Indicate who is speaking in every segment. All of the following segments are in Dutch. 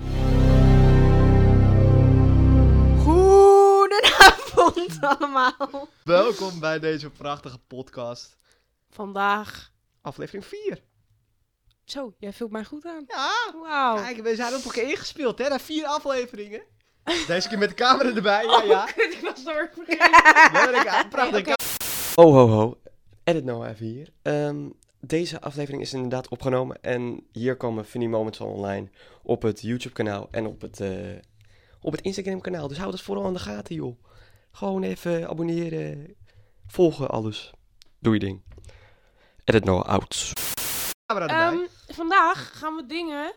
Speaker 1: allemaal.
Speaker 2: Welkom bij deze prachtige podcast.
Speaker 1: Vandaag.
Speaker 2: Aflevering 4.
Speaker 1: Zo, jij vult mij goed aan.
Speaker 2: Ja,
Speaker 1: Wauw.
Speaker 2: kijk, we zijn op elkaar ingespeeld, hè? Na vier afleveringen. Deze keer met de camera erbij, ja, ja.
Speaker 1: Kut, ik was door.
Speaker 2: Ja, maar ik- Oh. ja, prachtig.
Speaker 3: Oh, ho, ho. Edit nou even hier. Ehm, deze aflevering is inderdaad opgenomen. En hier komen funny moments al online. Op het YouTube-kanaal en op het, eh, op het Instagram-kanaal. Dus hou dat vooral in de gaten, joh. Gewoon even abonneren. Volgen, alles. Doe je ding. Edit nou out.
Speaker 2: Camera erbij.
Speaker 1: Ehm, vandaag gaan we dingen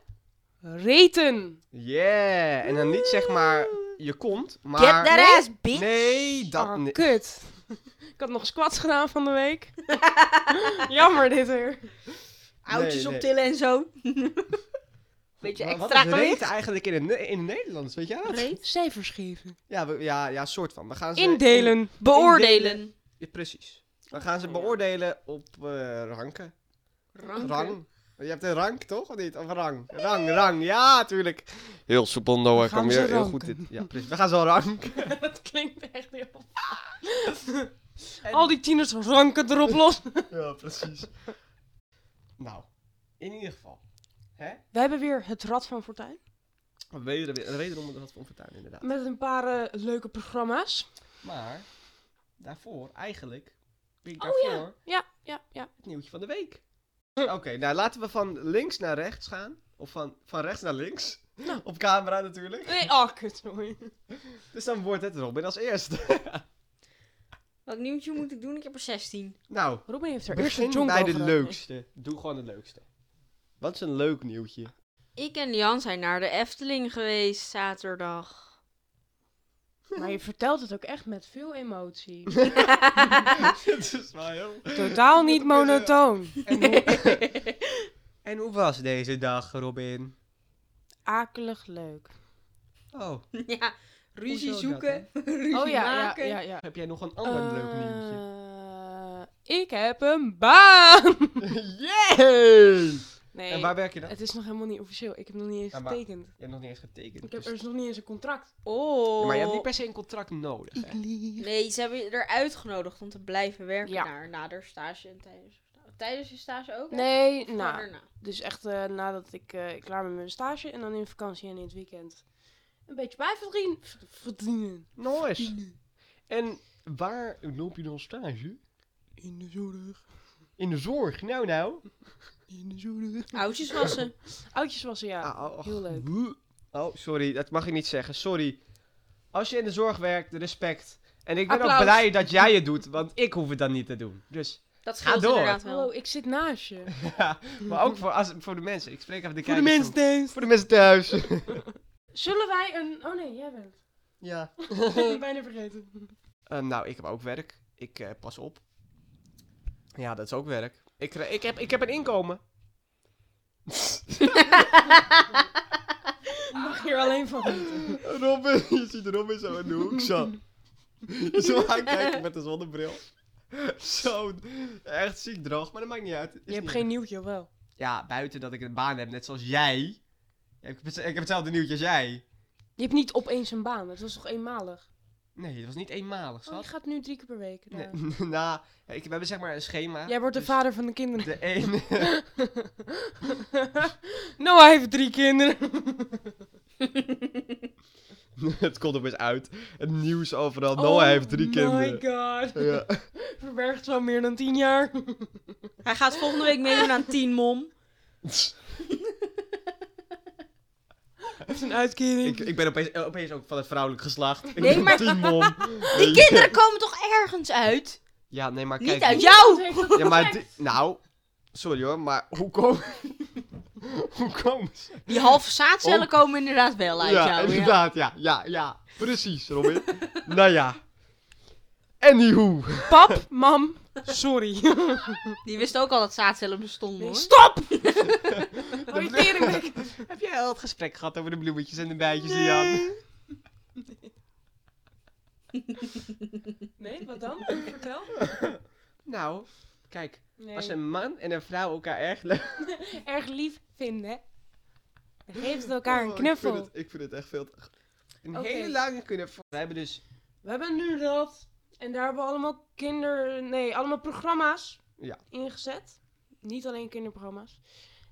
Speaker 1: reten.
Speaker 2: Yeah. En dan niet zeg maar je kont, maar...
Speaker 4: Get that ass, bitch.
Speaker 2: Nee, dat
Speaker 1: Ah,
Speaker 2: niet.
Speaker 1: kut. ik had nog squats gedaan van de week. Jammer dit weer.
Speaker 4: Oudjes
Speaker 2: Nee, nee.
Speaker 4: optillen en zo. Beetje
Speaker 2: Maar
Speaker 4: extra
Speaker 2: Wat is reet
Speaker 4: gewicht.
Speaker 2: eigenlijk in het, Ne- in het Nederlands, weet jij dat?
Speaker 1: Cijfers geven.
Speaker 2: Ja, we- ja, ja, soort van. We gaan ze
Speaker 1: Indelen.
Speaker 4: Beoordelen.
Speaker 2: Ja, precies. We gaan ze beoordelen op eh, ranken. Rang. Je hebt een rank, toch? Of niet? Of rang? Rang, rang. Ja, tuurlijk. Heel soepel,
Speaker 1: We
Speaker 2: Noah.
Speaker 1: gaan
Speaker 2: Kom
Speaker 1: ze
Speaker 2: weer heel
Speaker 1: ranken.
Speaker 2: goed dit. Ja, precies. We gaan zo ranken.
Speaker 1: dat klinkt echt heel... Al die tieners ranken erop los.
Speaker 2: Ja, precies. Nou, in ieder geval. Hè?
Speaker 1: We hebben weer het Rad van Fortuin.
Speaker 2: We weten er reden om dat van vertuin, inderdaad.
Speaker 1: Met een paar eh, leuke programma's.
Speaker 2: Maar, daarvoor eigenlijk... Ik
Speaker 1: Oh, ja.
Speaker 2: daarvoor
Speaker 1: Ja, ja, ja.
Speaker 2: het nieuwtje van de week. Oké, nou laten we van links naar rechts gaan. Of van, van rechts naar links. Op camera natuurlijk.
Speaker 1: Nee, oh, kut. sorry.
Speaker 2: Dus dan wordt het Robin als eerste.
Speaker 4: Welk nieuwtje moet ik doen? Ik heb er 16.
Speaker 2: Nou,
Speaker 1: Robin heeft er eerst een
Speaker 2: begin
Speaker 1: jonk
Speaker 2: bij
Speaker 1: over
Speaker 2: de
Speaker 1: gedaan.
Speaker 2: leukste. Doe gewoon de leukste. Wat is een leuk nieuwtje?
Speaker 4: Ik en Jan zijn naar de Efteling geweest zaterdag.
Speaker 1: Maar je vertelt het ook echt met veel emotie.
Speaker 2: Het is wel heel...
Speaker 1: Totaal niet monotoon.
Speaker 2: En hoe... en hoe was deze dag, Robin?
Speaker 1: Akelig leuk.
Speaker 2: Oh.
Speaker 4: ja,
Speaker 2: Hoezo
Speaker 4: ruzie
Speaker 2: dat,
Speaker 4: zoeken, ruzie
Speaker 1: Oh ja, ja,
Speaker 4: maken.
Speaker 1: ja. ja.
Speaker 2: Heb jij nog een ander leuk nieuwtje?
Speaker 1: Eh, ik heb een baan.
Speaker 2: Yay!
Speaker 1: Nee,
Speaker 2: En waar werk je dan?
Speaker 1: het is nog helemaal niet officieel. Ik heb nog niet eens
Speaker 2: Ja, maar-
Speaker 1: getekend.
Speaker 2: Je hebt nog niet eens getekend.
Speaker 1: Ik heb,
Speaker 2: dus-
Speaker 1: er is nog niet eens een contract.
Speaker 4: Oh.
Speaker 2: Maar je hebt niet per se een contract nodig. Hè?
Speaker 4: Nee, ze hebben je eruit genodigd om te blijven werken
Speaker 1: Ja.
Speaker 4: daar, na de stage en tijdens Tijdens je stage ook? hè?
Speaker 1: Nee,
Speaker 4: Of
Speaker 1: nou,
Speaker 4: daarna?
Speaker 1: Dus echt eh, nadat ik eh, ik klaar ben met mijn stage en dan in vakantie en in het weekend een beetje bijverdien- v- verdienen.
Speaker 2: Nice. En waar loop je dan stage?
Speaker 1: In de zorg.
Speaker 2: In de zorg. Nou, nou.
Speaker 1: In de zorg.
Speaker 4: Oudjes wassen.
Speaker 1: Oudjes was er, ja.
Speaker 2: Ah, och.
Speaker 1: heel leuk.
Speaker 2: Wuh. Oh, sorry, dat mag ik niet zeggen. Sorry. Als je in de zorg werkt, respect. En ik ben ook
Speaker 1: Applaus.
Speaker 2: blij dat jij het doet, want ik hoef het dan niet te doen. Dus.
Speaker 4: Dat
Speaker 2: Ga
Speaker 4: scheelt
Speaker 2: door.
Speaker 4: inderdaad
Speaker 1: Hallo,
Speaker 4: wel.
Speaker 1: ik zit naast je.
Speaker 2: Ja, maar ook voor, als, voor de mensen. Ik spreek even de
Speaker 1: Voor de
Speaker 2: kijkers
Speaker 1: mensen
Speaker 2: toe. Voor de mensen thuis.
Speaker 1: Zullen wij een... Oh nee, jij bent.
Speaker 2: ja.
Speaker 1: Ik ben het bijna vergeten.
Speaker 2: Eh, nou, ik heb ook werk. Ik eh, pas op. Ja, dat is ook werk. Ik, krijg- ik, heb, ik heb een inkomen.
Speaker 1: Ik mag hier alleen van genieten.
Speaker 2: Robin, je ziet Robin zo in de hoek zo. Zo aankijken met een zonnebril. Zo, echt ziek droog, maar dat maakt niet uit. Is
Speaker 1: Je hebt
Speaker 2: niet
Speaker 1: geen nieuwtje, of wel?
Speaker 2: Ja, buiten dat ik een baan heb, net zoals jij. Ja, ik, heb, het- ik heb hetzelfde nieuwtje als jij.
Speaker 1: Je hebt niet opeens een baan. Het was toch eenmalig?
Speaker 2: Nee, dat was niet eenmalig,
Speaker 1: Oh, je
Speaker 2: schat.
Speaker 1: gaat nu drie keer per week.
Speaker 2: Nee,
Speaker 1: daar.
Speaker 2: nou, ik, we hebben zeg maar een schema.
Speaker 1: Jij wordt de
Speaker 2: Dus
Speaker 1: vader van de kinderen.
Speaker 2: De ene...
Speaker 1: Noah heeft drie kinderen.
Speaker 2: het komt op eens uit. Het nieuws overal.
Speaker 1: Oh
Speaker 2: Noah heeft drie kinderen.
Speaker 1: my god.
Speaker 2: Ja.
Speaker 1: Verbergt zo meer dan tien jaar.
Speaker 4: Hij gaat volgende week meedoen aan 10 mom.
Speaker 1: Heeft een uitkering.
Speaker 2: Ik, ik ben opeens, eh, opeens ook van het vrouwelijk geslacht. Ik
Speaker 4: Nee,
Speaker 2: ben
Speaker 4: maar-
Speaker 2: tien mom.
Speaker 4: Die kinderen komen toch ergens uit?
Speaker 2: Ja, nee, maar kijk.
Speaker 4: Niet uit
Speaker 2: die-
Speaker 4: jou!
Speaker 2: Ja, maar die- Nou, sorry hoor, maar hoe komen... hoe komen ze?
Speaker 4: Die halve zaadcellen komen inderdaad wel uit
Speaker 2: Oh. ja,
Speaker 4: jou. Ja.
Speaker 2: inderdaad, ja. ja, ja. Precies, Robin. nou ja. Anywho.
Speaker 1: Pap, mam, sorry.
Speaker 4: Die wist ook al dat zaadcellen bestonden hoor.
Speaker 1: Stop! Oh, je teringbek.
Speaker 2: Heb jij al het gesprek gehad over de bloemetjes en de bijtjes,
Speaker 1: Nee.
Speaker 2: Jan?
Speaker 1: Nee, wat dan? Vertel.
Speaker 2: Nou, kijk. Als
Speaker 1: Nee.
Speaker 2: een man en een vrouw elkaar erg leuk...
Speaker 1: Erg lief vinden. Dan geven ze elkaar
Speaker 2: Oh,
Speaker 1: een knuffel.
Speaker 2: ik vind het echt veel... Een
Speaker 1: Oké.
Speaker 2: hele lange knuffel. We hebben dus...
Speaker 1: We hebben nu dat. En daar hebben we allemaal kinder... Nee, allemaal programma's
Speaker 2: Ja.
Speaker 1: ingezet. Niet alleen kinderprogramma's.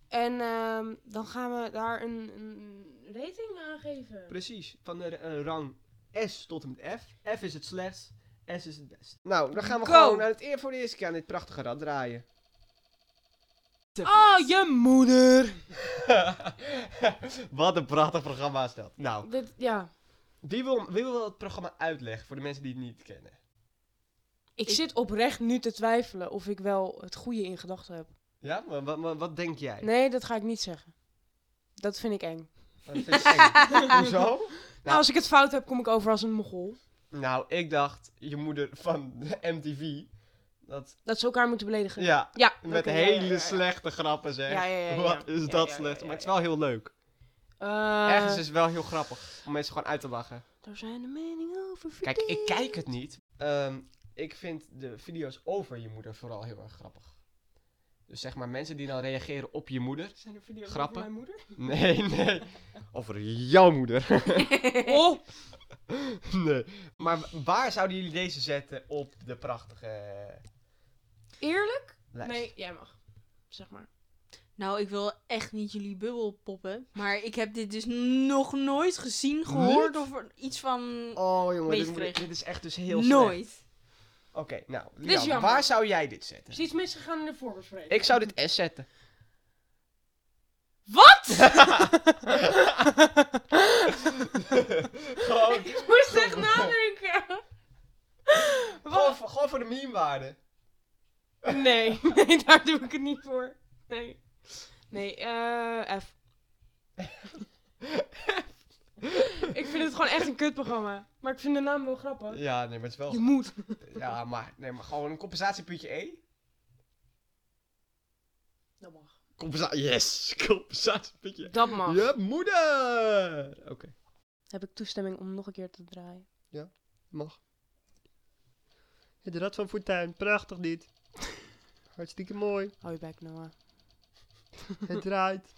Speaker 1: En ehm, dan gaan we daar een, een rating aan geven.
Speaker 2: Precies, van de eh, rang S tot en met F. F is het slechtst, S is het best. Nou, dan gaan we
Speaker 1: Go!
Speaker 2: gewoon aan het, eer- voor de eerste keer aan dit prachtige rad draaien.
Speaker 1: Oh, je moeder!
Speaker 2: Wat een prachtig programma is dat. Nou,
Speaker 1: Dit, ja.
Speaker 2: wie wil, wie wil het programma uitleggen voor de mensen die het niet kennen?
Speaker 1: Ik, zit oprecht nu te twijfelen of ik wel het goede in gedachten heb.
Speaker 2: Ja, maar, wa- maar wat denk jij?
Speaker 1: Nee, dat ga ik niet zeggen. Dat vind ik eng. Nou,
Speaker 2: Dat vind ik eng. Hoezo?
Speaker 1: als ik het fout heb, kom ik over als een mogol.
Speaker 2: Nou, ik dacht, je moeder van de MTV. Dat,
Speaker 1: Dat ze elkaar moeten beledigen.
Speaker 2: ja,
Speaker 1: Ja,
Speaker 2: met
Speaker 1: oké, ja, ja,
Speaker 2: hele
Speaker 1: ja, ja.
Speaker 2: slechte grappen zeg.
Speaker 1: Ja, ja, ja, ja.
Speaker 2: Wat is
Speaker 1: Ja,
Speaker 2: dat
Speaker 1: ja, ja,
Speaker 2: slecht?
Speaker 1: ja,
Speaker 2: Maar het is
Speaker 1: ja.
Speaker 2: wel heel leuk.
Speaker 1: Eh,
Speaker 2: Ergens is het wel heel grappig om mensen gewoon uit te lachen.
Speaker 1: Daar zijn de meningen over
Speaker 2: Kijk,
Speaker 1: verdeeld.
Speaker 2: ik kijk het niet. Ehm, ik vind de video's over je moeder vooral heel erg grappig. Dus zeg maar, mensen die dan reageren op je moeder.
Speaker 1: Zijn er video's
Speaker 2: over Grappen. mijn
Speaker 1: moeder?
Speaker 2: Nee, nee. Over jouw moeder.
Speaker 1: Oh,
Speaker 2: nee. Maar w- waar zouden jullie deze zetten op de prachtige
Speaker 1: eerlijk?
Speaker 2: lijst?
Speaker 1: Nee, jij mag. Zeg maar.
Speaker 4: Nou, ik wil echt niet jullie bubbel poppen. Maar ik heb dit dus nog nooit gezien, gehoord
Speaker 2: Niet?
Speaker 4: of er iets van...
Speaker 2: Oh jongen, dit, moet-
Speaker 4: Meegekregen.
Speaker 2: dit is echt dus heel slecht.
Speaker 4: Nooit.
Speaker 2: Oké, nou.
Speaker 1: Dit is
Speaker 2: Lian,
Speaker 1: jammer.
Speaker 2: waar zou jij dit zetten?
Speaker 1: Er is Dus iets misgegaan in de voorbespreking.
Speaker 2: Ik zou dit S zetten.
Speaker 1: Wat?
Speaker 2: gewoon,
Speaker 1: ik moest echt nadenken.
Speaker 2: gewoon, voor, gewoon voor de meme-waarde.
Speaker 1: Nee, nee, daar doe ik het niet voor. Nee. Nee, eh, F. ik vind het gewoon echt een kutprogramma. Maar ik vind de naam wel grappig.
Speaker 2: Ja, nee, maar het is wel
Speaker 1: Je moet.
Speaker 2: Ja, maar, nee, maar gewoon een compensatiepuntje E.
Speaker 1: Dat mag.
Speaker 2: Compensa yes, compensatiepuntje E.
Speaker 1: Dat mag.
Speaker 2: Je moeder! Oké,
Speaker 1: Heb ik toestemming om nog een keer te draaien?
Speaker 2: mag. Het Rad van Fortuin, prachtig dit. Hartstikke mooi.
Speaker 1: Hou je bek, Noah.
Speaker 2: Het draait.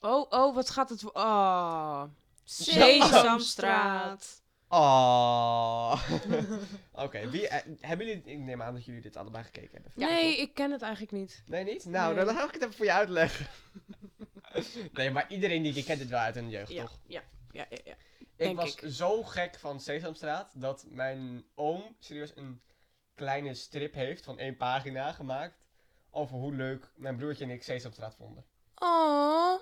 Speaker 1: Oh, oh, wat gaat het... wo- Oh.
Speaker 4: Sesamstraat.
Speaker 2: Oh. Oké, wie, eh, hebben jullie, ik neem aan dat jullie dit allebei gekeken hebben.
Speaker 4: Ja,
Speaker 1: nee, ik ken het eigenlijk niet.
Speaker 2: Nee, niet? Nou, dan ga ik het even voor je uitleggen. nee, maar iedereen die je kent het wel uit hun jeugd, toch?
Speaker 1: ja, ja, ja, ja.
Speaker 2: Ik
Speaker 1: Denk
Speaker 2: was
Speaker 1: ik.
Speaker 2: zo gek van Sesamstraat dat mijn oom serieus een kleine strip heeft van één pagina gemaakt. Over hoe leuk mijn broertje en ik Sesamstraat vonden.
Speaker 1: Oh,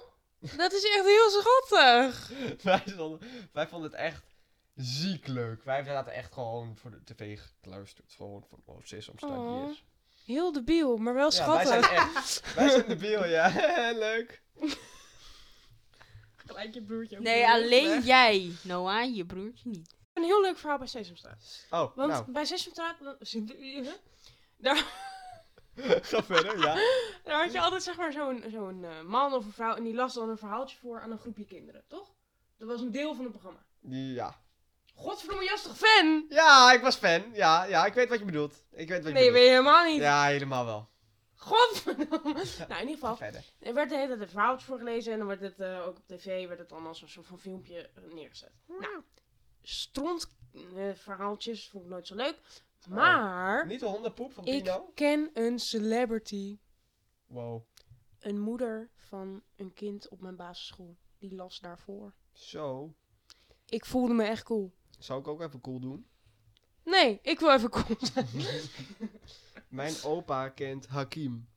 Speaker 1: dat is echt heel schattig.
Speaker 2: wij, vonden wij vonden het echt ziek leuk. Wij zaten echt gewoon voor de tv gekluisterd. Gewoon van oh, Sesamstraat
Speaker 1: Oh,
Speaker 2: yes.
Speaker 1: Heel debiel, maar wel
Speaker 2: Ja, wij
Speaker 1: schattig.
Speaker 2: zijn echt, wij zijn debiel, ja. leuk.
Speaker 1: Gelijk je broertje.
Speaker 4: Nee, alleen jij, Noah, je broertje niet.
Speaker 1: Een heel leuk verhaal bij Sesamstraat.
Speaker 2: Oh,
Speaker 1: Want
Speaker 2: nou,
Speaker 1: bij Sesamstraat...
Speaker 2: ga verder, ja.
Speaker 1: Daar had je altijd zeg maar zo'n zo'n eh, man of een vrouw... en die las dan een verhaaltje voor aan een groepje kinderen, toch? Dat was een deel van het programma.
Speaker 2: Ja.
Speaker 1: Godverdomme, jas toch fan?
Speaker 2: Ja, ik was fan. Ja, ja, ik weet wat je bedoelt. Ik weet wat je
Speaker 1: Nee,
Speaker 2: bedoelt.
Speaker 1: weet je helemaal niet.
Speaker 2: Ja, helemaal wel.
Speaker 1: Godverdomme. Nou,
Speaker 2: Ga
Speaker 1: in ieder geval...
Speaker 2: verder.
Speaker 1: Er werd de hele tijd een verhaaltje voorgelezen en dan werd het eh, ook op tv werd het dan als een soort van filmpje eh, neergezet. Nou, stront eh, verhaaltjes vond ik nooit zo leuk.
Speaker 2: Oh.
Speaker 1: Maar
Speaker 2: Niet de hondenpoep van
Speaker 1: ik
Speaker 2: Pino?
Speaker 1: ken een celebrity,
Speaker 2: Wow.
Speaker 1: een moeder van een kind op mijn basisschool. Die las daarvoor.
Speaker 2: Zo.
Speaker 1: Ik voelde me echt cool.
Speaker 2: Zou ik ook even cool doen?
Speaker 1: Nee, ik wil even cool zijn.
Speaker 2: Mijn opa kent Hakim.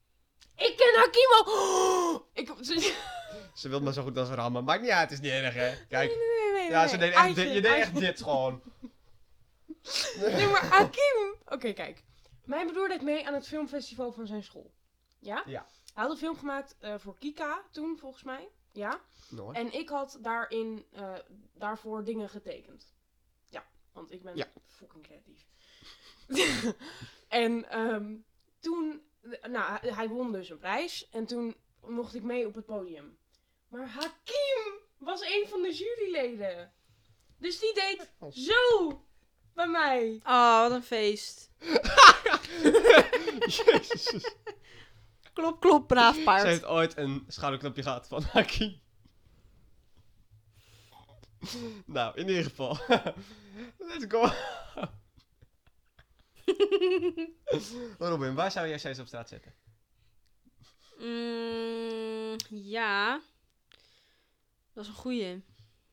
Speaker 1: Ik ken Hakimo! ik, nee,
Speaker 2: Ze wil maar zo goed als rammen. Maakt niet uit, het is niet erg, hè? Kijk.
Speaker 1: nee, nee,
Speaker 2: Ja,
Speaker 1: nee.
Speaker 2: ze deed echt
Speaker 1: Eitje,
Speaker 2: dit. Je deed
Speaker 1: eitje.
Speaker 2: echt dit gewoon.
Speaker 1: Nee, maar Akim... Oké, kijk. Mijn broer deed mee aan het filmfestival van zijn school. Ja?
Speaker 2: Ja.
Speaker 1: Hij had een film gemaakt eh, voor Kika toen, volgens mij. Ja.
Speaker 2: Noor.
Speaker 1: En ik had daarin, eh, daarvoor dingen getekend. Ja, want ik ben
Speaker 2: Ja.
Speaker 1: fucking creatief. en ehm, toen... Nou, hij- hij won dus een prijs. En toen mocht ik mee op het podium. Maar Hakim was een van de juryleden. Dus die deed
Speaker 2: Oh,
Speaker 1: zo bij mij.
Speaker 4: Oh, wat een feest.
Speaker 2: Jezus.
Speaker 4: Klop, klop, braaf
Speaker 2: Ze
Speaker 4: paard.
Speaker 2: heeft ooit een schouderklopje gehad van Hakim. Nou, in ieder geval. Let's go. Robin, waar zou jij Zeus op straat zetten?
Speaker 4: Mm, ja. Dat is een goeie.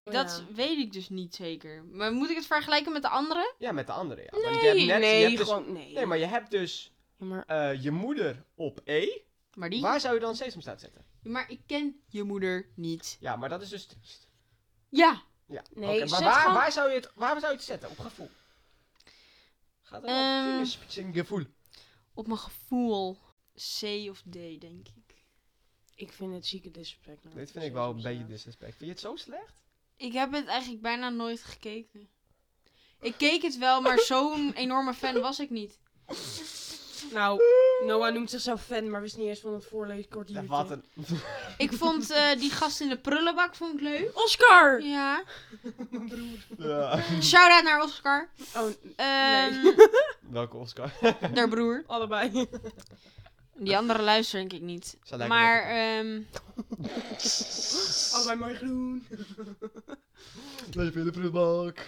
Speaker 4: Dat
Speaker 1: Ja.
Speaker 4: weet ik dus niet zeker. Maar moet ik het vergelijken met de andere?
Speaker 2: Ja, met de andere. Ja. Want je hebt
Speaker 1: Nee,
Speaker 2: net- je
Speaker 1: nee,
Speaker 2: hebt dus-
Speaker 1: gewoon nee.
Speaker 2: nee, maar je hebt dus
Speaker 1: Ja, maar-
Speaker 2: eh, je moeder op E.
Speaker 4: Maar die?
Speaker 2: Waar zou je dan Zeus op straat zetten?
Speaker 4: Maar ik ken je moeder niet.
Speaker 2: Ja, maar dat is dus triest.
Speaker 4: Ja.
Speaker 2: Ja.
Speaker 1: Nee,
Speaker 2: oké,
Speaker 1: zet
Speaker 2: maar waar,
Speaker 1: gewoon-
Speaker 2: waar, zou je het, waar zou je het zetten? Op gevoel. Gaat het
Speaker 4: Ehm.
Speaker 2: um... een gevoel.
Speaker 4: Op mijn gevoel. C of D, denk ik.
Speaker 1: Ik vind het zieke disrespect. nou.
Speaker 2: Dit vind ik wel een
Speaker 1: Zeus
Speaker 2: beetje
Speaker 1: op
Speaker 2: disrespect. Vind je het zo slecht?
Speaker 4: Ik heb het eigenlijk bijna nooit gekeken. Ik keek het wel, maar zo'n enorme fan was ik niet.
Speaker 1: straat. Nou, Noah noemt zichzelf fan, maar wist niet eens van het voorleeskort
Speaker 2: Ja,
Speaker 1: hier.
Speaker 2: wat een...
Speaker 4: Ik vond eh, die gast in de prullenbak vond ik leuk.
Speaker 1: Oscar!
Speaker 4: Ja.
Speaker 2: Ja.
Speaker 4: Shout-out naar Oscar.
Speaker 1: Oh,
Speaker 4: Ehm,
Speaker 1: Nee.
Speaker 2: Welke Oscar?
Speaker 4: Haar broer.
Speaker 1: allebei.
Speaker 4: Die andere luister denk ik niet.
Speaker 2: Zou lijken
Speaker 4: maar
Speaker 2: dat
Speaker 4: ehm,
Speaker 1: allebei mooi groen.
Speaker 2: Leef in de prullenbak.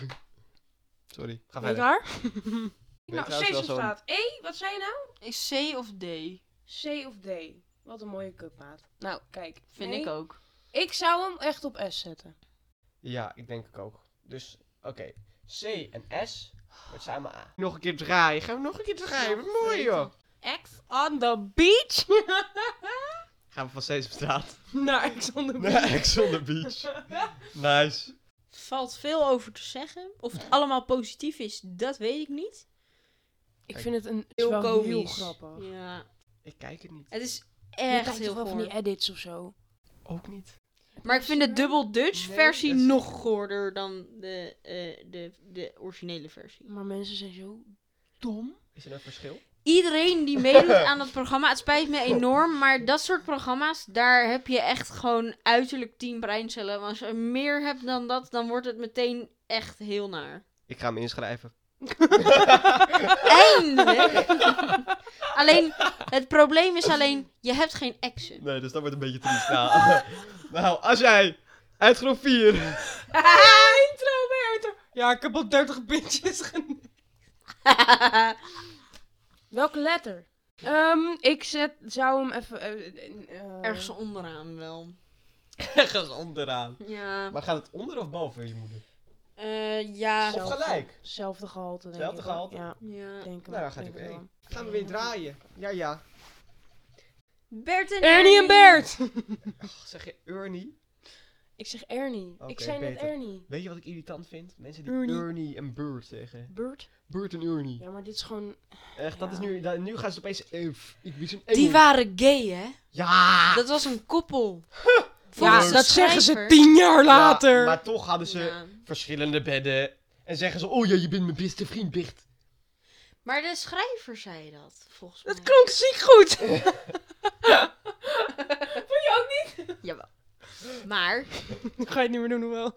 Speaker 2: Sorry, ga
Speaker 1: Ben
Speaker 2: verder.
Speaker 1: je klaar?
Speaker 2: Ben je
Speaker 1: nou,
Speaker 2: trouwens
Speaker 1: C's
Speaker 2: wel
Speaker 1: op
Speaker 2: zo'n-
Speaker 1: straat. E, wat zei je nou?
Speaker 4: eh, C of D
Speaker 1: C of D? Wat een mooie cupmaat. Nou, kijk.
Speaker 4: vind
Speaker 1: Nee,
Speaker 4: ik ook.
Speaker 1: Ik zou hem echt op S zetten.
Speaker 2: Ja, ik denk ik ook. Dus, oké. C en S wordt samen A. Nog een keer draaien. Gaan we nog een keer draaien. Wat mooi, joh.
Speaker 1: X on the beach?
Speaker 2: Gaan we van steeds op straat.
Speaker 1: Naar Nou, X on the beach.
Speaker 2: Naar Ex on the Beach. Nice.
Speaker 4: Valt veel over te zeggen. Of het allemaal positief is, dat weet ik niet.
Speaker 1: Ik
Speaker 2: Kijk.
Speaker 1: vind het een
Speaker 4: Heel
Speaker 1: heel,
Speaker 4: komisch.
Speaker 1: heel grappig.
Speaker 4: Ja.
Speaker 2: Ik kijk het niet.
Speaker 4: Het is
Speaker 1: Je
Speaker 4: echt
Speaker 1: kijkt
Speaker 4: heel
Speaker 1: toch wel van die
Speaker 4: goor.
Speaker 1: edits of zo.
Speaker 2: Ook niet.
Speaker 4: Maar ik vind de Double Dutch
Speaker 2: Nee,
Speaker 4: versie
Speaker 2: dat is-
Speaker 4: nog goorder dan de, eh, de, de originele versie.
Speaker 1: Maar mensen zijn zo dom.
Speaker 2: Is er een verschil?
Speaker 4: Iedereen die meedoet aan dat programma, het spijt me enorm, maar dat soort programma's, daar heb je echt gewoon uiterlijk 10 breincellen. Want als je meer hebt dan dat, dan wordt het meteen echt heel naar.
Speaker 2: Ik ga hem inschrijven.
Speaker 4: Eindelijk! alleen, het probleem is alleen, je hebt geen action.
Speaker 2: Nee, dus dat wordt een beetje triest. Nou, nou als jij uit groep 4...
Speaker 1: intro bij Arthur. Ja, ik heb al 30 pintjes genomen. Welke letter? Ehm, ik zet, zou hem even... eh, eh,
Speaker 4: Ergens onderaan wel.
Speaker 2: Ergens onderaan.
Speaker 4: Ja.
Speaker 2: Maar gaat het onder of boven je moeder?
Speaker 4: Eh, ja.
Speaker 1: Zo.
Speaker 2: Of gelijk?
Speaker 1: Hetzelfde gehalte, denk
Speaker 2: Hetzelfde
Speaker 1: ik, hoor.
Speaker 2: gehalte?
Speaker 1: Ja,
Speaker 4: ja.
Speaker 1: denk ik.
Speaker 2: Nou, dan gaat hij op
Speaker 1: E.
Speaker 2: één. Gaan we weer draaien. Ja, ja.
Speaker 4: Bert en
Speaker 1: Ernie en Bert!
Speaker 2: Zeg je Ernie?
Speaker 1: Ik zeg Ernie. ik
Speaker 2: Oké,
Speaker 1: zei net
Speaker 2: beter.
Speaker 1: Ernie.
Speaker 2: Weet je wat ik irritant vind? Mensen die
Speaker 1: Ernie.
Speaker 2: Ernie, en Bert zeggen.
Speaker 1: Bert?
Speaker 2: Bert en Ernie.
Speaker 1: Ja, maar dit is gewoon...
Speaker 2: Echt, dat
Speaker 1: Ja.
Speaker 2: is nu... da- nu gaan ze opeens... Eef, ik wist een
Speaker 4: Die
Speaker 2: engel.
Speaker 4: waren gay, hè?
Speaker 2: Ja!
Speaker 4: Dat was een koppel.
Speaker 1: Ja,
Speaker 4: de
Speaker 1: dat zeggen ze
Speaker 4: schrijver.
Speaker 1: tien jaar
Speaker 2: Ja,
Speaker 1: later!
Speaker 2: maar toch hadden ze
Speaker 4: Ja.
Speaker 2: verschillende bedden. En zeggen ze, oh ja, je bent mijn beste vriend, Bert.
Speaker 4: Maar de schrijver zei dat, volgens mij.
Speaker 1: Dat klonk ziek goed!
Speaker 4: Jawel. Maar
Speaker 1: Ga je het niet meer doen, hoewel.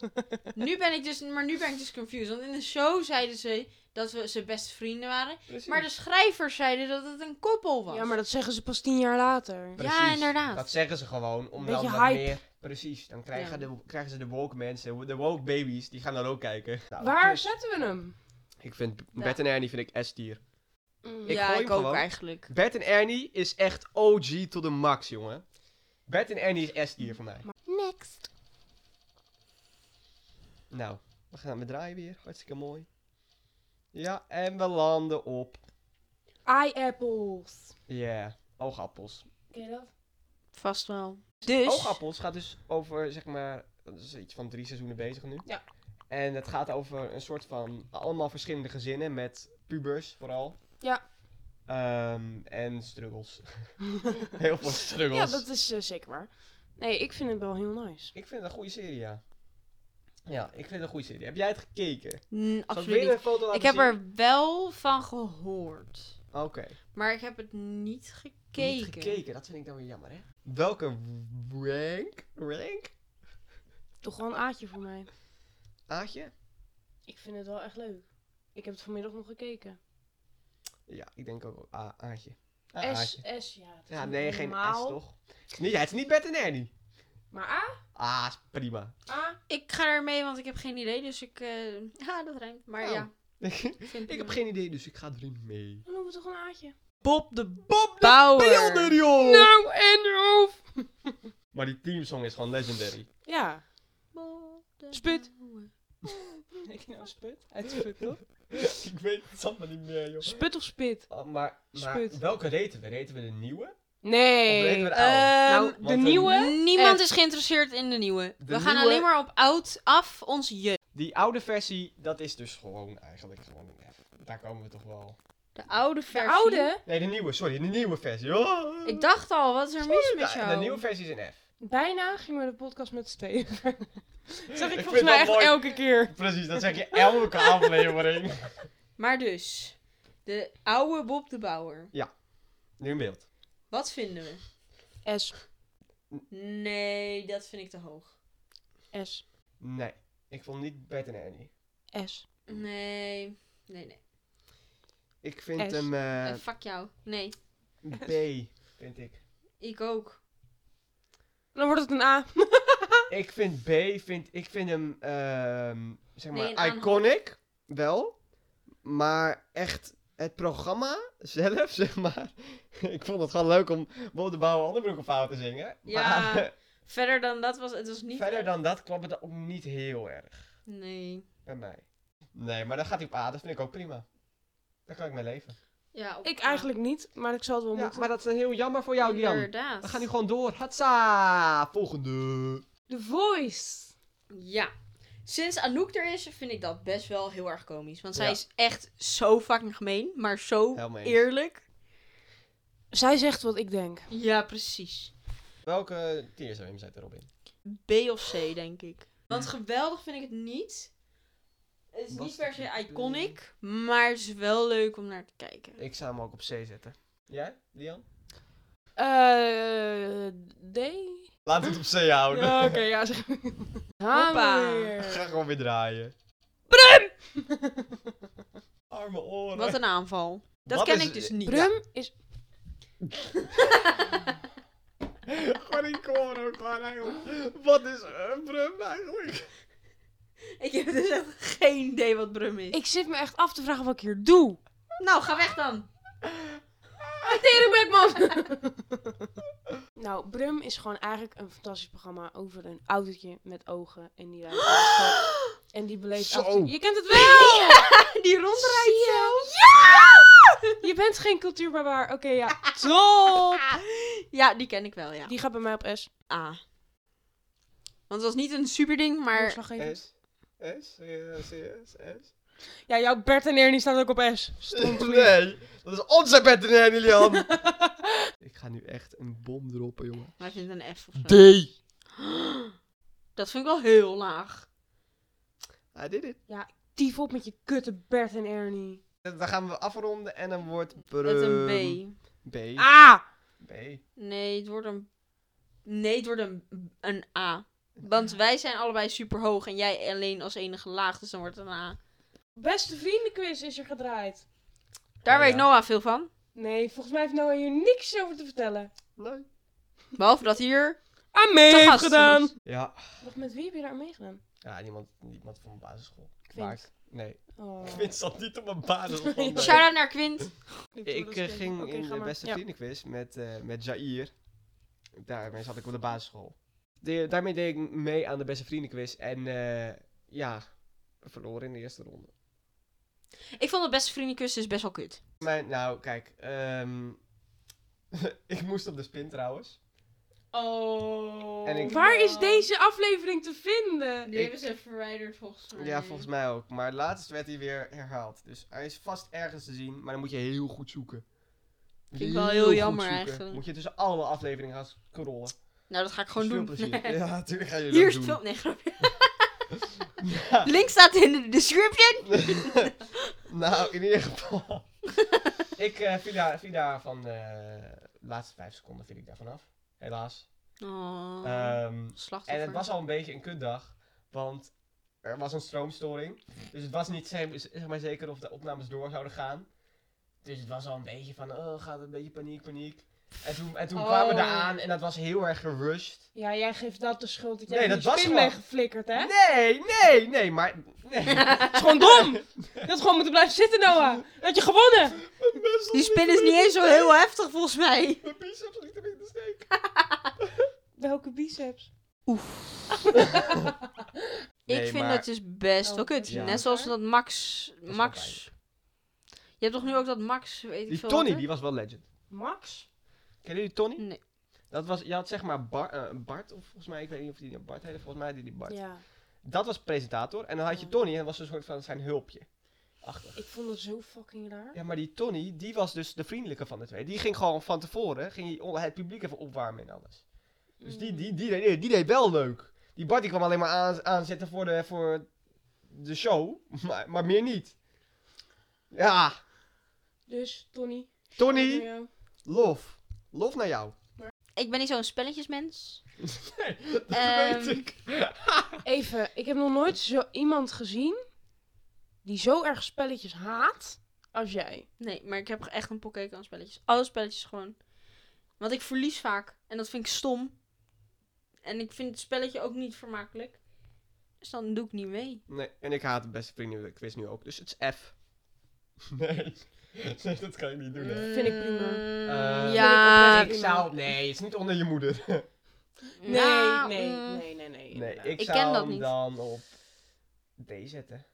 Speaker 4: nu, ben ik dus, maar nu ben ik dus confused. Want in de show zeiden ze dat we ze beste vrienden waren. Maar de schrijvers zeiden dat het een koppel was.
Speaker 1: Ja, maar dat zeggen ze pas tien jaar later.
Speaker 4: Ja, inderdaad.
Speaker 2: Dat zeggen ze gewoon, om dan
Speaker 1: Beetje
Speaker 2: wat
Speaker 1: hype.
Speaker 2: meer... Precies, dan krijgen,
Speaker 4: Ja.
Speaker 2: de, krijgen ze de woke mensen, de woke babies, die gaan dan ook kijken. Nou,
Speaker 1: Waar
Speaker 2: dus-
Speaker 1: zetten we hem?
Speaker 2: Ik vind Bert en Ernie vind ik S-tier. Ik
Speaker 4: Mm, ja,
Speaker 2: gooi
Speaker 4: ik
Speaker 2: hem
Speaker 4: ook
Speaker 2: gewoon.
Speaker 4: eigenlijk.
Speaker 2: Bert en Ernie is echt OG tot de max, jongen. Bert en Ernie is S-tier voor mij.
Speaker 1: Next.
Speaker 2: Nou, we gaan we draaien weer. Hartstikke mooi. Ja, en we landen op...
Speaker 1: Eye-apples.
Speaker 2: Ja, oogappels.
Speaker 1: Ken je dat?
Speaker 4: Vast wel. Dus,
Speaker 2: Oogappels gaat dus over, zeg maar, dat is iets van drie seizoenen bezig nu.
Speaker 1: Ja.
Speaker 2: En het gaat over een soort van allemaal verschillende gezinnen met pubers vooral.
Speaker 1: Ja.
Speaker 2: Ehm, en struggles. Heel veel struggles.
Speaker 1: Ja, dat is eh, zeker waar. Nee, ik vind het wel heel nice.
Speaker 2: Ik vind het een goede serie, ja. Ja, ik vind het een goede serie. Heb jij het gekeken?
Speaker 4: Mm,
Speaker 2: Zal ik
Speaker 4: absoluut
Speaker 2: weer
Speaker 4: niet.
Speaker 2: een foto laten
Speaker 4: Ik heb
Speaker 2: zien?
Speaker 4: er wel van gehoord.
Speaker 2: Oké.
Speaker 4: Maar ik heb het niet gekeken.
Speaker 2: Niet gekeken, dat vind ik dan weer jammer, hè? Welke w- rank? Rank?
Speaker 1: Toch wel een aatje voor mij.
Speaker 2: Aatje?
Speaker 1: Ik vind het wel echt leuk. Ik heb het vanmiddag nog gekeken.
Speaker 2: Ja, ik denk ook wel A Aatje. A
Speaker 1: S,
Speaker 2: Aatje.
Speaker 1: S, ja. dat is
Speaker 2: Ja,
Speaker 1: niet
Speaker 2: nee, geen S
Speaker 1: normaal.
Speaker 2: toch? Nee, ja, het is niet Bert en Ernie.
Speaker 1: Maar A?
Speaker 2: Ah, is prima.
Speaker 1: A?
Speaker 4: Ik ga ermee, want ik heb geen idee. Dus ik... eh, ja, dat rijmt. Maar
Speaker 2: Oh.
Speaker 4: ja.
Speaker 2: ik heb geen idee, dus ik ga erin mee.
Speaker 1: Dan doen we toch een aatje.
Speaker 4: Bob de Bob Bouwer.
Speaker 1: eh.
Speaker 2: Beelden, joh!
Speaker 1: Nou, en erof.
Speaker 2: Maar die teamsong is gewoon legendary.
Speaker 1: Ja. Spit.
Speaker 2: Ik nou sput? Hij sput, toch? ik weet het allemaal niet meer, joh.
Speaker 1: Sput of spit?
Speaker 2: Oh, maar maar
Speaker 1: Sput.
Speaker 2: welke reten we? Reten we de nieuwe? Of reten we
Speaker 1: Nee.
Speaker 2: de oude?
Speaker 4: Ehm,
Speaker 1: Nou,
Speaker 2: want
Speaker 1: de
Speaker 2: een-
Speaker 1: nieuwe.
Speaker 4: niemand
Speaker 1: Echt.
Speaker 4: is geïnteresseerd in de nieuwe.
Speaker 2: De
Speaker 4: We gaan
Speaker 2: nieuwe-
Speaker 4: alleen maar op oud af ons je.
Speaker 2: Die oude versie, dat is dus gewoon eigenlijk gewoon een app. Daar komen we toch wel.
Speaker 4: De oude
Speaker 1: De
Speaker 4: versie.
Speaker 1: oude?
Speaker 2: Nee, de nieuwe, sorry, de nieuwe versie. Oh.
Speaker 4: Ik dacht al, wat is er mis met
Speaker 2: Ja,
Speaker 4: jou?
Speaker 2: de nieuwe versie is een F.
Speaker 1: Bijna gingen we de podcast met z'n tweeën. Dat zeg ik,
Speaker 2: vind
Speaker 1: volgens mij
Speaker 2: dat
Speaker 1: echt
Speaker 2: mooi.
Speaker 1: elke keer.
Speaker 2: Precies, dat zeg je elke aflevering.
Speaker 4: Maar dus, de oude Bob de Bouwer.
Speaker 2: Nu in beeld.
Speaker 4: Wat vinden we?
Speaker 1: S.
Speaker 4: Nee, dat vind ik te hoog.
Speaker 1: S.
Speaker 2: Nee, ik vond niet Bert en Annie.
Speaker 1: S.
Speaker 4: Nee, nee, nee.
Speaker 2: Ik vind
Speaker 1: S.
Speaker 2: hem eh,
Speaker 4: Eh, fuck jou. Nee,
Speaker 2: B, vind ik.
Speaker 4: ik ook.
Speaker 1: Dan wordt het een A.
Speaker 2: Ik vind B, vind, ik vind hem, ehm, zeg
Speaker 4: Nee,
Speaker 2: maar,
Speaker 4: een aanhang.
Speaker 2: iconic, wel. Maar echt, het programma zelf, zeg maar. ik vond het gewoon leuk om Bob de Bouwer Anderbroek op fout te zingen.
Speaker 4: Ja,
Speaker 2: maar eh,
Speaker 4: Verder dan dat was het was niet...
Speaker 2: verder dan dat klopt het ook niet heel erg
Speaker 4: Nee.
Speaker 2: bij mij. Nee, maar dan gaat hij op A, dat vind ik ook prima. Daar kan ik mee leven.
Speaker 4: Ja, op-
Speaker 1: Ik eigenlijk niet, maar ik zal het wel
Speaker 2: Ja,
Speaker 1: moeten.
Speaker 2: maar dat is heel jammer voor jou, Jan.
Speaker 4: Inderdaad.
Speaker 2: We gaan nu gewoon door. Hatsa! Volgende.
Speaker 1: The Voice.
Speaker 4: Ja. Sinds Anouk er is, vind ik dat best wel heel erg komisch. Want zij
Speaker 2: Ja.
Speaker 4: is echt zo fucking gemeen, maar zo
Speaker 2: Helemaal eens.
Speaker 4: eerlijk.
Speaker 1: Zij zegt wat ik denk.
Speaker 4: Ja, precis.
Speaker 2: Welke tier zou je hem zetten, Robin?
Speaker 4: B of C, denk ik. Want geweldig vind ik het niet. Het is niet per se iconic, maar het is wel leuk om naar te kijken.
Speaker 2: Ik zou hem ook op C zetten. Jij, Lian?
Speaker 1: Eh D?
Speaker 2: Laat het op C houden.
Speaker 1: Ja, Oké, ja, zeg
Speaker 4: Hoppa.
Speaker 1: Hamer.
Speaker 2: Ga gewoon weer draaien. Brum! Arme oren.
Speaker 4: Wat een aanval. Dat
Speaker 2: Wat
Speaker 4: ken
Speaker 2: is-
Speaker 4: ik dus niet.
Speaker 1: Brum is...
Speaker 2: Gewoon in koor ook gewoon eigenlijk. Wat is een Brum eigenlijk?
Speaker 4: Ik heb dus echt geen idee wat Brum is.
Speaker 1: Ik zit me echt af te vragen wat ik hier doe.
Speaker 4: Nou, ga weg dan.
Speaker 1: Teringbackman! nou, Brum is gewoon eigenlijk een fantastisch programma over een autootje met ogen. En die rijdt. door de stad. En die beleeft...
Speaker 2: Zo.
Speaker 1: achter- Je kent het wel!
Speaker 4: Die rondrijdt.
Speaker 1: Zie je? Je bent geen cultuurbarbaar. Oké, ja. Top!
Speaker 4: Ja, die ken ik wel, ja.
Speaker 1: Die gaat bij mij op S.
Speaker 4: A. Want het was niet een super ding, maar
Speaker 1: Doorslaggevend.
Speaker 2: S. S? CS? S? S?
Speaker 1: Ja, jouw Bert en Ernie staat ook op S. Stond
Speaker 2: Nee, dat is onze Bert en Lian. Ik ga nu echt een bom droppen, jongen.
Speaker 4: wij vinden een F of
Speaker 2: D.
Speaker 4: zo. Dat vind ik wel heel laag.
Speaker 2: I did it.
Speaker 1: Dief op met je kutte Bert en Ernie.
Speaker 2: Dan gaan we afronden en dan wordt Brum...
Speaker 4: Het een B.
Speaker 2: B.
Speaker 1: Ah!
Speaker 2: B.
Speaker 4: Nee, het wordt een... Nee, het wordt een, een A. Want wij zijn allebei super hoog en jij alleen als enige laag, dus dan wordt het een A.
Speaker 1: Beste vriendenquiz is er gedraaid.
Speaker 4: Daar
Speaker 2: Oh,
Speaker 4: weet
Speaker 2: ja.
Speaker 4: Noah veel van.
Speaker 1: Nee, volgens mij heeft Noah hier niks over te vertellen.
Speaker 2: Nee.
Speaker 4: Behalve dat hier
Speaker 1: Aan mee
Speaker 4: te
Speaker 1: heeft
Speaker 4: gast
Speaker 1: gedaan.
Speaker 4: was.
Speaker 2: Ja.
Speaker 1: Wacht, met wie heb je daar aan meegedaan?
Speaker 2: Ja, niemand, niemand van mijn basisschool.
Speaker 1: Quint.
Speaker 2: Maar ik- Nee.
Speaker 1: Oh.
Speaker 2: Quint zat niet op mijn basisschool. nee.
Speaker 4: Shout-out naar Quint.
Speaker 2: Ik eh, ging
Speaker 1: Oké,
Speaker 2: in
Speaker 1: ga
Speaker 2: de
Speaker 1: maar.
Speaker 2: beste
Speaker 1: Ja.
Speaker 2: vriendenquiz met, eh, met Jair. Daarmee zat ik op de basisschool. De- daarmee deed ik mee aan de beste vriendenquiz. En eh, ja, verloren in de eerste ronde.
Speaker 4: Ik vond de beste vriendenkus dus best wel kut.
Speaker 2: Mijn, nou, kijk. ehm, ik moest op de spin trouwens.
Speaker 4: Oh.
Speaker 2: En ik-
Speaker 1: Waar is deze aflevering te vinden?
Speaker 2: Die hebben
Speaker 4: ze verwijderd volgens
Speaker 2: Ja, volgens mij ook. Maar laatst werd hij weer herhaald. Dus hij is vast ergens te zien, maar dan moet je heel goed zoeken.
Speaker 4: Vind ik wel heel
Speaker 2: goed
Speaker 4: jammer
Speaker 2: zoeken.
Speaker 4: eigenlijk.
Speaker 2: Moet je tussen alle afleveringen gaan scrollen.
Speaker 4: Nou, dat ga ik gewoon
Speaker 2: Dus
Speaker 4: doen.
Speaker 2: veel plezier. Ja, natuurlijk ga je
Speaker 4: Hier
Speaker 2: dat
Speaker 4: is het
Speaker 2: doen.
Speaker 4: film. Nee, grapje. Link staat in de description.
Speaker 2: nou, in ieder geval. ik eh viel, daar, viel daar van de laatste vijf seconden viel ik daar vanaf. Helaas.
Speaker 4: Oh.
Speaker 2: Ehm,
Speaker 4: slachtoffer.
Speaker 2: en het was al een beetje een kutdag. Want er was een stroomstoring. Dus het was niet ze- zeg maar zeker of de opnames door zouden gaan. Dus het was al een beetje van, oh, gaat het een beetje paniek, paniek. En toen, en toen
Speaker 1: Oh.
Speaker 2: kwamen we eraan en dat was heel erg gerushed.
Speaker 1: Ja, jij geeft dat de schuld dat jij
Speaker 2: Nee,
Speaker 1: die
Speaker 2: dat was
Speaker 1: spin
Speaker 2: gewoon-
Speaker 1: weggeflikkerd, hè?
Speaker 2: Nee, nee, nee, maar
Speaker 1: Dat is gewoon dom. Dat is gewoon moeten blijven zitten, Noah. Dat je gewonnen.
Speaker 4: Die spin is niet eens zo heel heftig volgens mij.
Speaker 2: Mijn biceps ligt erin in de steek.
Speaker 1: Welke biceps?
Speaker 4: ik vind
Speaker 2: maar-
Speaker 4: het dus best
Speaker 1: Oh,
Speaker 4: wel kut.
Speaker 2: Ja.
Speaker 4: Net zoals dat Max...
Speaker 2: wel
Speaker 4: Max... Je hebt toch nu ook dat Max... Weet ik
Speaker 2: Die
Speaker 4: veel
Speaker 2: Tony,
Speaker 4: wat, hè?
Speaker 2: die was wel legend.
Speaker 1: Max?
Speaker 2: Kennen jullie Tony?
Speaker 4: Nee.
Speaker 2: Dat was, je had zeg maar Bar- eh, Bart, of volgens mij, ik weet niet of die nou Bart heette, volgens mij die die Bart.
Speaker 1: Ja.
Speaker 2: Dat was presentator en dan had je
Speaker 1: Ja.
Speaker 2: Tony en dat was een soort van zijn hulpje. Achter.
Speaker 1: Ik vond het zo fucking raar.
Speaker 2: Ja, maar die Tony, die was dus de vriendelijke van de twee. Die ging gewoon van tevoren, ging hij onder het publiek even opwarmen en alles. Dus die, die, die, deed, die deed wel leuk. Die Bart die kwam alleen maar aan, aanzetten voor de, voor de show, maar, maar meer niet. Ja,
Speaker 1: Dus, Tony.
Speaker 2: Tony.
Speaker 1: shout naar jou.
Speaker 2: lof. Lof naar jou.
Speaker 4: Ik ben niet zo'n spelletjesmens.
Speaker 2: Dat
Speaker 4: Ehm,
Speaker 2: weet ik.
Speaker 1: Even, ik heb nog nooit zo iemand gezien die zo erg spelletjes haat als jij.
Speaker 4: Nee, maar ik heb echt een pokkeek aan spelletjes. Alle spelletjes gewoon. Want ik verlies vaak. En dat vind ik stom. En ik vind het spelletje ook niet vermakelijk. Dus dan doe ik niet mee.
Speaker 2: Nee, en ik haat de beste vrienden quiz nu ook, dus het is F. Nee, nee dat kan je niet doen. hè.
Speaker 1: Vind ik prima.
Speaker 2: Eh,
Speaker 4: Mm, ja.
Speaker 1: vind
Speaker 2: Ik zou... Nee, het is niet onder je moeder.
Speaker 4: nou,
Speaker 1: nee,
Speaker 4: mm.
Speaker 1: nee, nee, nee.
Speaker 2: Nee,
Speaker 1: inderdaad.
Speaker 2: ik,
Speaker 4: Ik
Speaker 2: zou
Speaker 4: ken dat
Speaker 2: hem
Speaker 4: niet.
Speaker 2: dan op D zetten.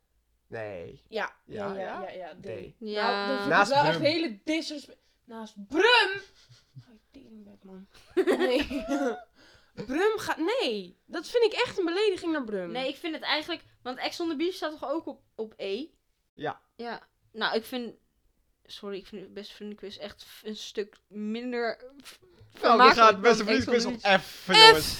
Speaker 2: Nee.
Speaker 1: Ja, ja,
Speaker 2: Ja,
Speaker 1: ja, ja,
Speaker 2: ja?
Speaker 1: ja, D.
Speaker 2: D.
Speaker 4: Ja.
Speaker 1: Nou, dat vind
Speaker 2: Naast
Speaker 1: ik wel echt
Speaker 2: Brum.
Speaker 1: hele disrespect. Naast Brum! Oh, teringbek, man. Nee. Brum gaat... Nee, dat vind ik echt een belediging naar Brum.
Speaker 2: Ehm,
Speaker 4: Nee, ik vind het eigenlijk... Want Ex on the Beach staat toch ook op, op E?
Speaker 2: Ja.
Speaker 4: Ja. Nou, ik vind... Sorry, ik vind Best Vriendenquiz echt f- een stuk minder... f-
Speaker 2: Nou,
Speaker 4: vermakelijk
Speaker 2: die gaat
Speaker 4: dan
Speaker 2: beste
Speaker 4: Ex on the
Speaker 2: vriendenquiz op
Speaker 4: Beach.
Speaker 2: F, jongens.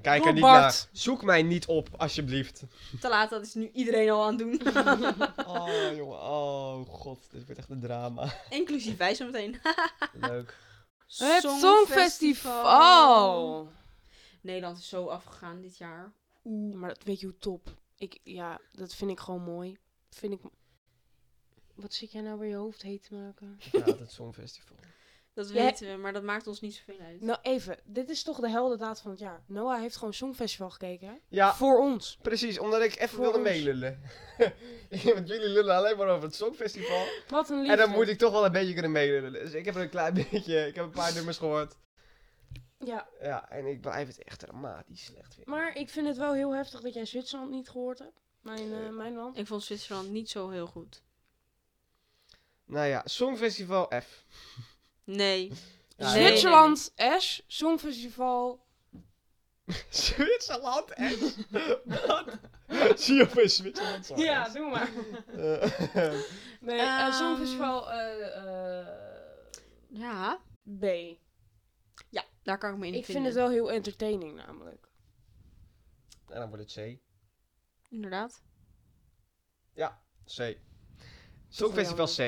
Speaker 2: Kijk
Speaker 1: Door
Speaker 2: er niet
Speaker 1: Bart.
Speaker 2: naar. Zoek mij niet op, alsjeblieft.
Speaker 4: Te laat, dat is nu iedereen al aan het doen.
Speaker 2: Oh, jongen. Oh, god. Dit wordt echt een drama.
Speaker 4: Inclusief wij zo meteen.
Speaker 2: Leuk.
Speaker 1: Het Songfestival!
Speaker 4: Nederland is zo afgegaan dit jaar.
Speaker 1: Oeh, maar dat weet je hoe top. Ik, ja, dat vind ik gewoon mooi. Vind ik... Wat zit jij nou weer je hoofd heet te maken?
Speaker 2: Ik haat het Songfestival.
Speaker 4: Dat
Speaker 1: Jij-
Speaker 4: weten we, maar dat maakt ons niet zoveel uit.
Speaker 1: Nou, even. Dit is toch de heldendaad van het jaar. Noah heeft gewoon Songfestival gekeken. hè?
Speaker 2: Ja,
Speaker 1: Voor ons.
Speaker 2: precies. Omdat ik even
Speaker 1: Voor
Speaker 2: wilde
Speaker 1: ons.
Speaker 2: meelullen. Want jullie lullen alleen maar over het Songfestival.
Speaker 1: Wat een liefde.
Speaker 2: En dan moet ik toch wel een beetje kunnen meelullen. Dus ik heb er een klein beetje... Ik heb een paar nummers gehoord.
Speaker 1: Ja,
Speaker 2: Ja, en ik blijf het echt dramatisch slecht vinden.
Speaker 1: maar ik vind het wel heel heftig dat jij Zwitserland niet gehoord hebt. Mijn, eh, mijn land.
Speaker 4: Ik vond Zwitserland niet zo heel goed.
Speaker 2: Nou ja, Songfestival F.
Speaker 4: Nee.
Speaker 2: Ja,
Speaker 4: nee, Zwitser-
Speaker 1: Zwitserland, Ash, Songfestival.
Speaker 2: Zwitserland F? Wat? Zie je opeens Zwitserland zo S.
Speaker 1: doe maar.
Speaker 2: Eh,
Speaker 1: Nee,
Speaker 4: eh,
Speaker 1: eh,
Speaker 4: Songfestival, Ja,
Speaker 1: B.
Speaker 4: daar kan ik me
Speaker 1: Ik
Speaker 4: in
Speaker 1: vind
Speaker 4: vinden.
Speaker 1: het wel heel entertaining namelijk.
Speaker 2: en nou, dan wordt het C.
Speaker 4: Inderdaad.
Speaker 2: C. Songfestival C.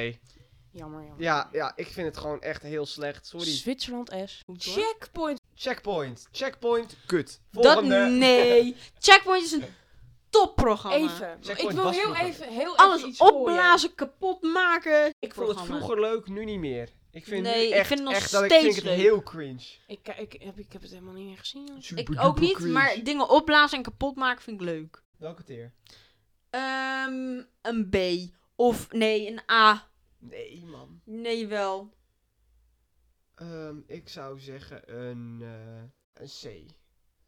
Speaker 1: Jammer, jammer.
Speaker 2: Ja, ja, ik vind het gewoon echt heel slecht. Sorry.
Speaker 1: Zwitserland S.
Speaker 4: Goed, hoor.
Speaker 1: Checkpoint.
Speaker 2: Checkpoint. Checkpoint. Kut.
Speaker 4: Dat
Speaker 2: Volgende.
Speaker 4: nee. Checkpoint is een topprogramma.
Speaker 1: Even.
Speaker 2: Checkpoint
Speaker 1: ik wil
Speaker 2: was
Speaker 1: heel
Speaker 2: vroeger.
Speaker 1: even, heel
Speaker 4: Alles
Speaker 1: even iets gooien.
Speaker 4: opblazen, kapot maken.
Speaker 2: ik vond het vroeger leuk, nu niet meer. Ik vind
Speaker 4: Nee,
Speaker 2: nu
Speaker 4: ik
Speaker 2: echt,
Speaker 4: vind het nog
Speaker 2: echt dat ik
Speaker 4: steeds
Speaker 2: vind het
Speaker 4: leuk.
Speaker 2: heel cringe.
Speaker 1: Ik, ik, ik, heb, ik heb het helemaal niet meer gezien. joh.
Speaker 4: Ik ook niet, maar dingen opblazen en kapot maken vind ik leuk.
Speaker 2: Welke teer?
Speaker 4: Ehm, een B. Of nee, een A.
Speaker 2: Nee, man.
Speaker 4: Nee, wel.
Speaker 2: Ehm, ik zou zeggen een, eh, een C.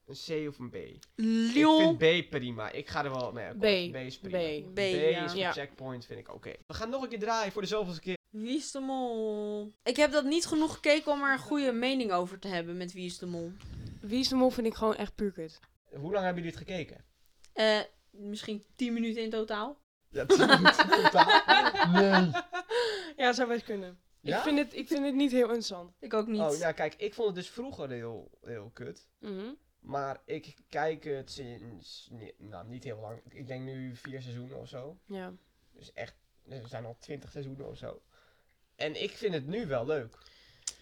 Speaker 2: Een C of een B.
Speaker 4: Lyon.
Speaker 2: Ik vind B prima. Ik ga er wel mee akkoord.
Speaker 1: B.
Speaker 2: B is prima. B,
Speaker 1: B.
Speaker 4: B, ja.
Speaker 2: is voor
Speaker 1: Ja.
Speaker 2: checkpoint, vind ik oké. We gaan nog een keer draaien voor de zoveelste keer.
Speaker 4: Wie is de mol? Ik heb dat niet genoeg gekeken om er een goede mening over te hebben met Wie is de mol.
Speaker 1: Wie is de mol vind ik gewoon echt puur kut.
Speaker 2: Hoe lang hebben jullie het gekeken?
Speaker 4: Eh, misschien 10 minuten in totaal.
Speaker 2: Ja, tien minuten totaal. Nee.
Speaker 1: Ja, zou best kunnen.
Speaker 2: Ja?
Speaker 1: Ik, vind het, ik vind het niet heel interessant.
Speaker 4: Ik ook niet.
Speaker 2: Oh, ja, kijk, ik vond het dus vroeger heel, heel kut.
Speaker 1: Mhm.
Speaker 2: Maar ik kijk het sinds, nee, nou niet heel lang, ik denk nu vier seizoenen of zo.
Speaker 1: Ja.
Speaker 2: Dus echt, er zijn al twintig seizoenen of zo. En ik vind het nu wel leuk.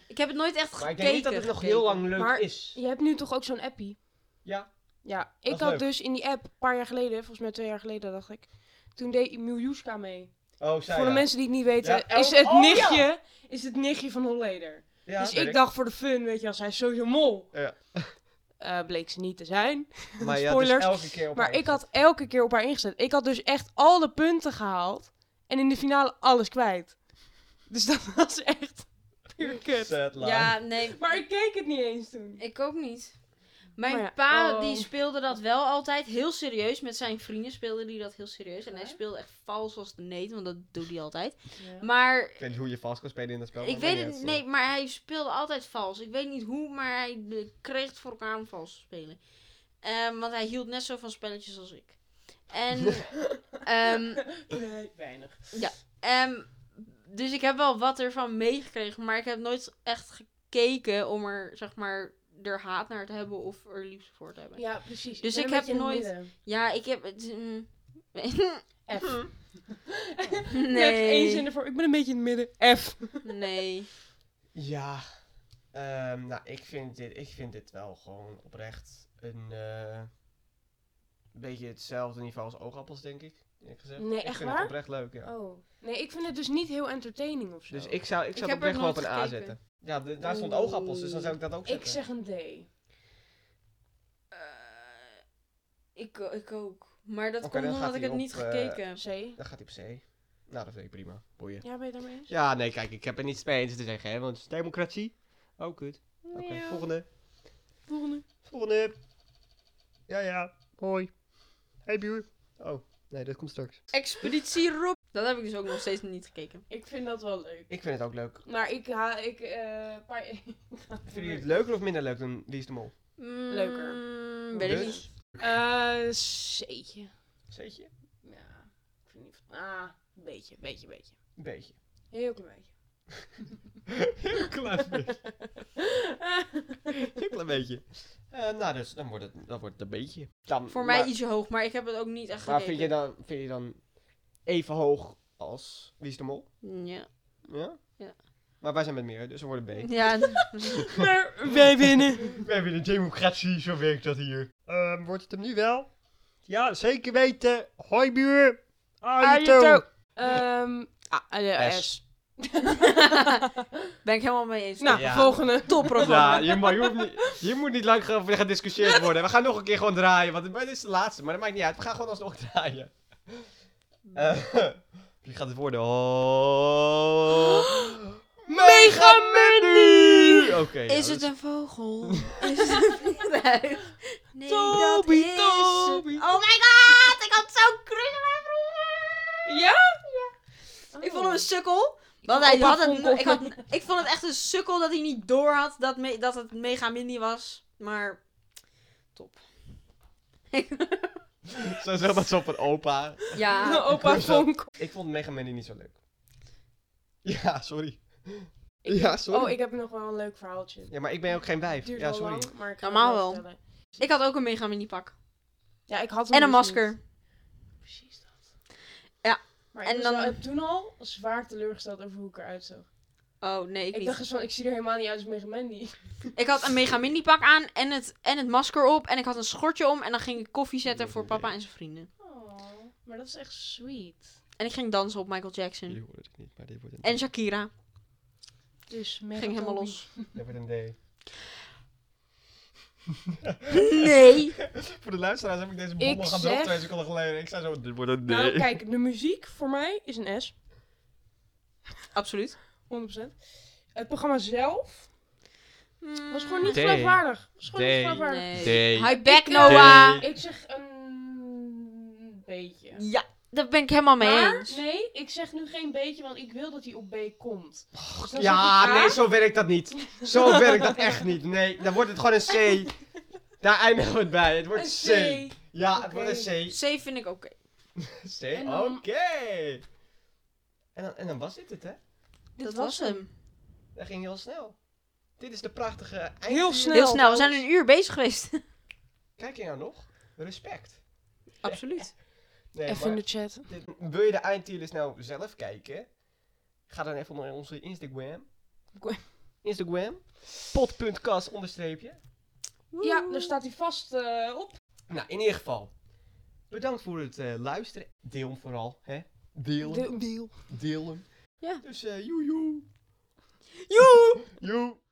Speaker 4: Ik heb het nooit echt
Speaker 2: Maar
Speaker 4: gekeken.
Speaker 2: ik denk niet dat het nog
Speaker 4: gekeken.
Speaker 2: heel lang leuk
Speaker 1: Maar-
Speaker 2: is.
Speaker 1: Je hebt nu toch ook zo'n appie?
Speaker 2: Ja,
Speaker 1: Ja,
Speaker 2: Dat
Speaker 1: ik
Speaker 2: is
Speaker 1: had
Speaker 2: leuk.
Speaker 1: dus in die app, een paar jaar geleden, volgens mij twee jaar geleden dacht ik, toen deed Miljuska mee.
Speaker 2: oh, ik zei
Speaker 1: voor de
Speaker 2: ja.
Speaker 1: mensen die het niet weten,
Speaker 2: Ja, El-
Speaker 1: is, het
Speaker 2: oh, ja!
Speaker 1: nichtje, is het nichtje van Holleder.
Speaker 2: Ja,
Speaker 1: dus
Speaker 2: weet
Speaker 1: ik dacht voor de fun, weet je, als hij is sowieso mol.
Speaker 2: Ja.
Speaker 1: eh, bleek ze niet te zijn.
Speaker 2: Maar je had
Speaker 1: Spoilers.
Speaker 2: dus elke keer op
Speaker 1: Maar
Speaker 2: haar
Speaker 1: ik had elke keer op haar ingezet. Ik had dus echt alle punten gehaald. En in de finale alles kwijt. Dus dat was echt puur
Speaker 2: ingezet.
Speaker 1: kut.
Speaker 2: Sad line.
Speaker 4: Ja, nee.
Speaker 1: Maar ik keek het niet eens toen.
Speaker 4: Ik ook niet. Mijn
Speaker 1: Maar ja,
Speaker 4: pa
Speaker 1: oh.
Speaker 4: die speelde dat wel altijd heel serieus. Met zijn vrienden speelde hij dat heel serieus. En hij speelde echt vals als de neet, want dat doet hij altijd. Maar
Speaker 2: Ik weet niet hoe je vast kan spelen in dat spel.
Speaker 4: ik
Speaker 2: Oh, maar
Speaker 4: weet
Speaker 2: maakt
Speaker 4: het
Speaker 2: niet
Speaker 4: niet.
Speaker 2: uit.
Speaker 4: Nee, maar hij speelde altijd vals. Ik weet niet hoe, maar hij eh, kreeg het voor elkaar om vals te spelen. Ehm, want hij hield net zo van spelletjes als ik. En ehm,
Speaker 1: Nee, weinig.
Speaker 4: Ehm, dus ik heb wel wat ervan meegekregen, maar ik heb nooit echt gekeken om er, zeg maar, er haat naar te hebben of er liefde voor te hebben. Ja,
Speaker 1: Ja, precies.
Speaker 4: Dus
Speaker 1: ben
Speaker 4: ik
Speaker 1: een
Speaker 4: heb
Speaker 1: beetje in het
Speaker 4: nooit-
Speaker 1: midden.
Speaker 4: ik heb het. mm,
Speaker 2: Hm.
Speaker 1: F. Ik heb één zin
Speaker 4: nee.
Speaker 1: ervoor. Ik ben een beetje in het midden. F.
Speaker 4: Nee.
Speaker 2: Ja. Ehm, nou, ik vind, dit, ik vind dit wel gewoon oprecht een eh, beetje hetzelfde niveau als oogappels, denk ik. eerlijk gezegd.
Speaker 1: Nee,
Speaker 2: ik
Speaker 1: echt
Speaker 2: vind
Speaker 1: waar?
Speaker 2: het oprecht leuk, ja.
Speaker 1: Oh. Nee, ik vind het dus niet heel entertaining of zo.
Speaker 2: Dus ik zou, ik zou het
Speaker 4: heb
Speaker 2: oprecht
Speaker 4: er
Speaker 2: wel op een
Speaker 4: nooit
Speaker 2: A
Speaker 4: gekeken.
Speaker 2: zetten. Ja, de- daar stond
Speaker 1: Oeh.
Speaker 2: oogappels, dus dan zou ik dat ook
Speaker 1: Ik
Speaker 2: zetten.
Speaker 1: zeg een D.
Speaker 4: Eh, ik, ik ook. Maar dat
Speaker 2: Oké, dan
Speaker 4: komt omdat
Speaker 2: gaat
Speaker 4: ik
Speaker 2: hij
Speaker 4: het niet
Speaker 2: op, eh,
Speaker 4: gekeken heb.
Speaker 1: C.
Speaker 2: Dan gaat hij op C. Nou, dat vind ik prima. Boeien.
Speaker 1: Ja, ben je daarmee eens?
Speaker 2: Ja, nee, kijk, ik heb er niets mee eens te zeggen, hè, want het is democratie. Oh, kut. Oké,
Speaker 4: Miauw.
Speaker 2: volgende.
Speaker 1: Volgende.
Speaker 2: Volgende. Ja, ja. Hoi. Hey, buur. Oh, nee, dat komt straks.
Speaker 4: Expeditie Rob. Dat heb ik dus ook nog steeds niet gekeken.
Speaker 1: Ik vind dat wel leuk.
Speaker 2: Ik vind het ook leuk.
Speaker 1: Maar ik haal... Ik, eh paar...
Speaker 2: Vind jullie het leuker of minder leuk dan Wie is de Mol?
Speaker 4: Mm,
Speaker 1: Leuker.
Speaker 4: Weet ik
Speaker 2: Dus?
Speaker 4: niet.
Speaker 1: Eh, C'tje.
Speaker 2: Zeetje?
Speaker 1: Ja, ik vind niet van... Ah, een beetje, een beetje, een beetje.
Speaker 2: Een beetje.
Speaker 1: Heel klein beetje.
Speaker 2: Heel klein beetje. Heel klein beetje. Eh, nou, dus dan wordt het, dan wordt het een beetje. Dan,
Speaker 4: Voor mij
Speaker 2: maar,
Speaker 4: ietsje hoog, maar ik heb het ook niet echt
Speaker 2: Maar
Speaker 4: gekeken.
Speaker 2: vind je, dan, vind je dan even hoog als Wie is de Mol?
Speaker 4: Ja.
Speaker 2: Ja?
Speaker 4: Ja.
Speaker 2: Maar wij zijn met meer, dus we worden B.
Speaker 4: Ja,
Speaker 1: maar wij winnen.
Speaker 2: We hebben een democratie, zo werkt dat hier. Ehm, wordt het hem nu wel? Ja, zeker weten. Hoi buur.
Speaker 1: Ehm, ah, eh,
Speaker 2: S.
Speaker 1: S.
Speaker 4: ben ik helemaal mee eens.
Speaker 1: Nou,
Speaker 2: Ja.
Speaker 1: volgende.
Speaker 2: Ja,
Speaker 1: Topprogramma.
Speaker 2: je, mag- je hoeft niet, je moet niet lang over gediscussieerd worden. We gaan nog een keer gewoon draaien, want dit is de laatste. Maar dat maakt niet uit, we gaan gewoon alsnog draaien. Eh, wie gaat het worden? Oh.
Speaker 1: Mega
Speaker 2: Menu! Oké. nou,
Speaker 4: Is het
Speaker 2: dus-
Speaker 4: een vogel? Is het een vliegtuig? Nee, dat
Speaker 1: Toby,
Speaker 4: is...
Speaker 1: Toby.
Speaker 4: Oh my god, ik had zo'n crush op mijn broer.
Speaker 1: Ja? Oh.
Speaker 4: Ik vond hem een sukkel.
Speaker 1: vond
Speaker 4: Want hij
Speaker 1: opa
Speaker 4: had het,
Speaker 1: vond ik
Speaker 4: ik, had, ik vond het echt een sukkel dat hij niet door had dat, me- dat het mega mini was. Maar top.
Speaker 2: Zo zegt dat zo van opa.
Speaker 4: Ja,
Speaker 1: Opa
Speaker 2: Ik hoor
Speaker 1: Vonk.
Speaker 2: Ik vond Mega Mandy niet zo leuk. Ja, sorry.
Speaker 1: Ik-
Speaker 2: Ja, sorry.
Speaker 1: Oh, ik heb nog wel een leuk verhaaltje.
Speaker 2: Ja, maar ik ben ook geen wijf.
Speaker 1: Het duurt
Speaker 2: Ja,
Speaker 1: wel
Speaker 2: sorry.
Speaker 1: lang, maar ik ga
Speaker 4: Normaal
Speaker 1: het
Speaker 4: wel.
Speaker 1: vertellen.
Speaker 4: ik had ook een mega mini pak.
Speaker 1: Ja, ik had hem
Speaker 4: En een
Speaker 1: dus
Speaker 4: masker.
Speaker 1: niet. Precies dat.
Speaker 4: Ja,
Speaker 1: Maar ik
Speaker 4: en
Speaker 1: was
Speaker 4: dan-
Speaker 1: wel- toen al zwaar teleurgesteld over hoe ik eruit zag.
Speaker 4: Oh nee, ik,
Speaker 1: Ik
Speaker 4: niet.
Speaker 1: dacht eens van, ik zie er helemaal niet uit als Mega Mandy.
Speaker 4: Ik had een mega mini pak aan en het, en het masker op. En ik had een schortje om. En dan ging ik koffie zetten voor papa en zijn vrienden.
Speaker 1: Oh, maar dat is echt sweet.
Speaker 4: En ik ging dansen op Michael
Speaker 2: Jullie
Speaker 4: Jackson.
Speaker 2: horen het niet, maar dit wordt een
Speaker 4: En Shakira.
Speaker 1: Dus Mega
Speaker 4: Ging helemaal
Speaker 1: Toby.
Speaker 4: los.
Speaker 2: Dit wordt een D.
Speaker 4: Nee.
Speaker 2: Voor de luisteraars heb ik deze
Speaker 1: Ik
Speaker 2: bommel gedropt
Speaker 1: zeg-
Speaker 2: twee seconden geleden. Ik zei zo, dit wordt een D.
Speaker 1: Nou, kijk, de muziek voor mij is een S, 100%.
Speaker 4: Absoluut.
Speaker 1: Het programma zelf was gewoon niet
Speaker 2: D.
Speaker 1: geloofwaardig. Was gewoon niet
Speaker 2: D.
Speaker 1: geloofwaardig.
Speaker 4: Mm, Nee.
Speaker 2: D.
Speaker 4: Hi back
Speaker 1: Ik, eh,
Speaker 4: Noah.
Speaker 1: Ik zeg een beetje.
Speaker 4: Ja, daar ben ik helemaal mee
Speaker 1: Maar,
Speaker 4: eens.
Speaker 1: nee, ik zeg nu geen beetje, want ik wil dat hij op B komt. Dus dan zeg ik
Speaker 2: Ja,
Speaker 1: A.
Speaker 2: nee, zo werkt dat niet. Zo werkt dat echt niet. Nee, dan wordt het gewoon een C. Daar eindigen we het bij. Het
Speaker 1: Een
Speaker 2: wordt
Speaker 1: C.
Speaker 2: een C. Ja, het
Speaker 1: Oké.
Speaker 2: wordt een C.
Speaker 4: C vind ik oké.
Speaker 2: C,
Speaker 1: En
Speaker 2: oké.
Speaker 1: dan-
Speaker 2: En, dan, en dan was dit het, hè?
Speaker 1: Dit
Speaker 4: Dat was hem.
Speaker 2: Dat ging heel snel. Dit is de prachtige eind.
Speaker 1: Heel snel.
Speaker 4: Heel snel, we zijn een uur bezig geweest.
Speaker 2: Kijk je nou nog? Respect.
Speaker 4: Absoluut.
Speaker 2: Nee,
Speaker 1: Even in
Speaker 2: maar
Speaker 1: de chat.
Speaker 2: dit- wil je de eindtierlist nou zelf kijken? Ga dan even naar onze Instagram.
Speaker 1: Gwe-
Speaker 2: Instagram. Pot.kas onderstreepje.
Speaker 1: Ja, daar staat hij vast eh, op.
Speaker 2: Nou, in ieder geval. Bedankt voor het eh, luisteren. Deel hem vooral, hè? Deel hem.
Speaker 1: deal.
Speaker 2: Deel hem.
Speaker 4: Ja.
Speaker 2: Dus eh joe joe.
Speaker 4: Joe!
Speaker 2: Joe.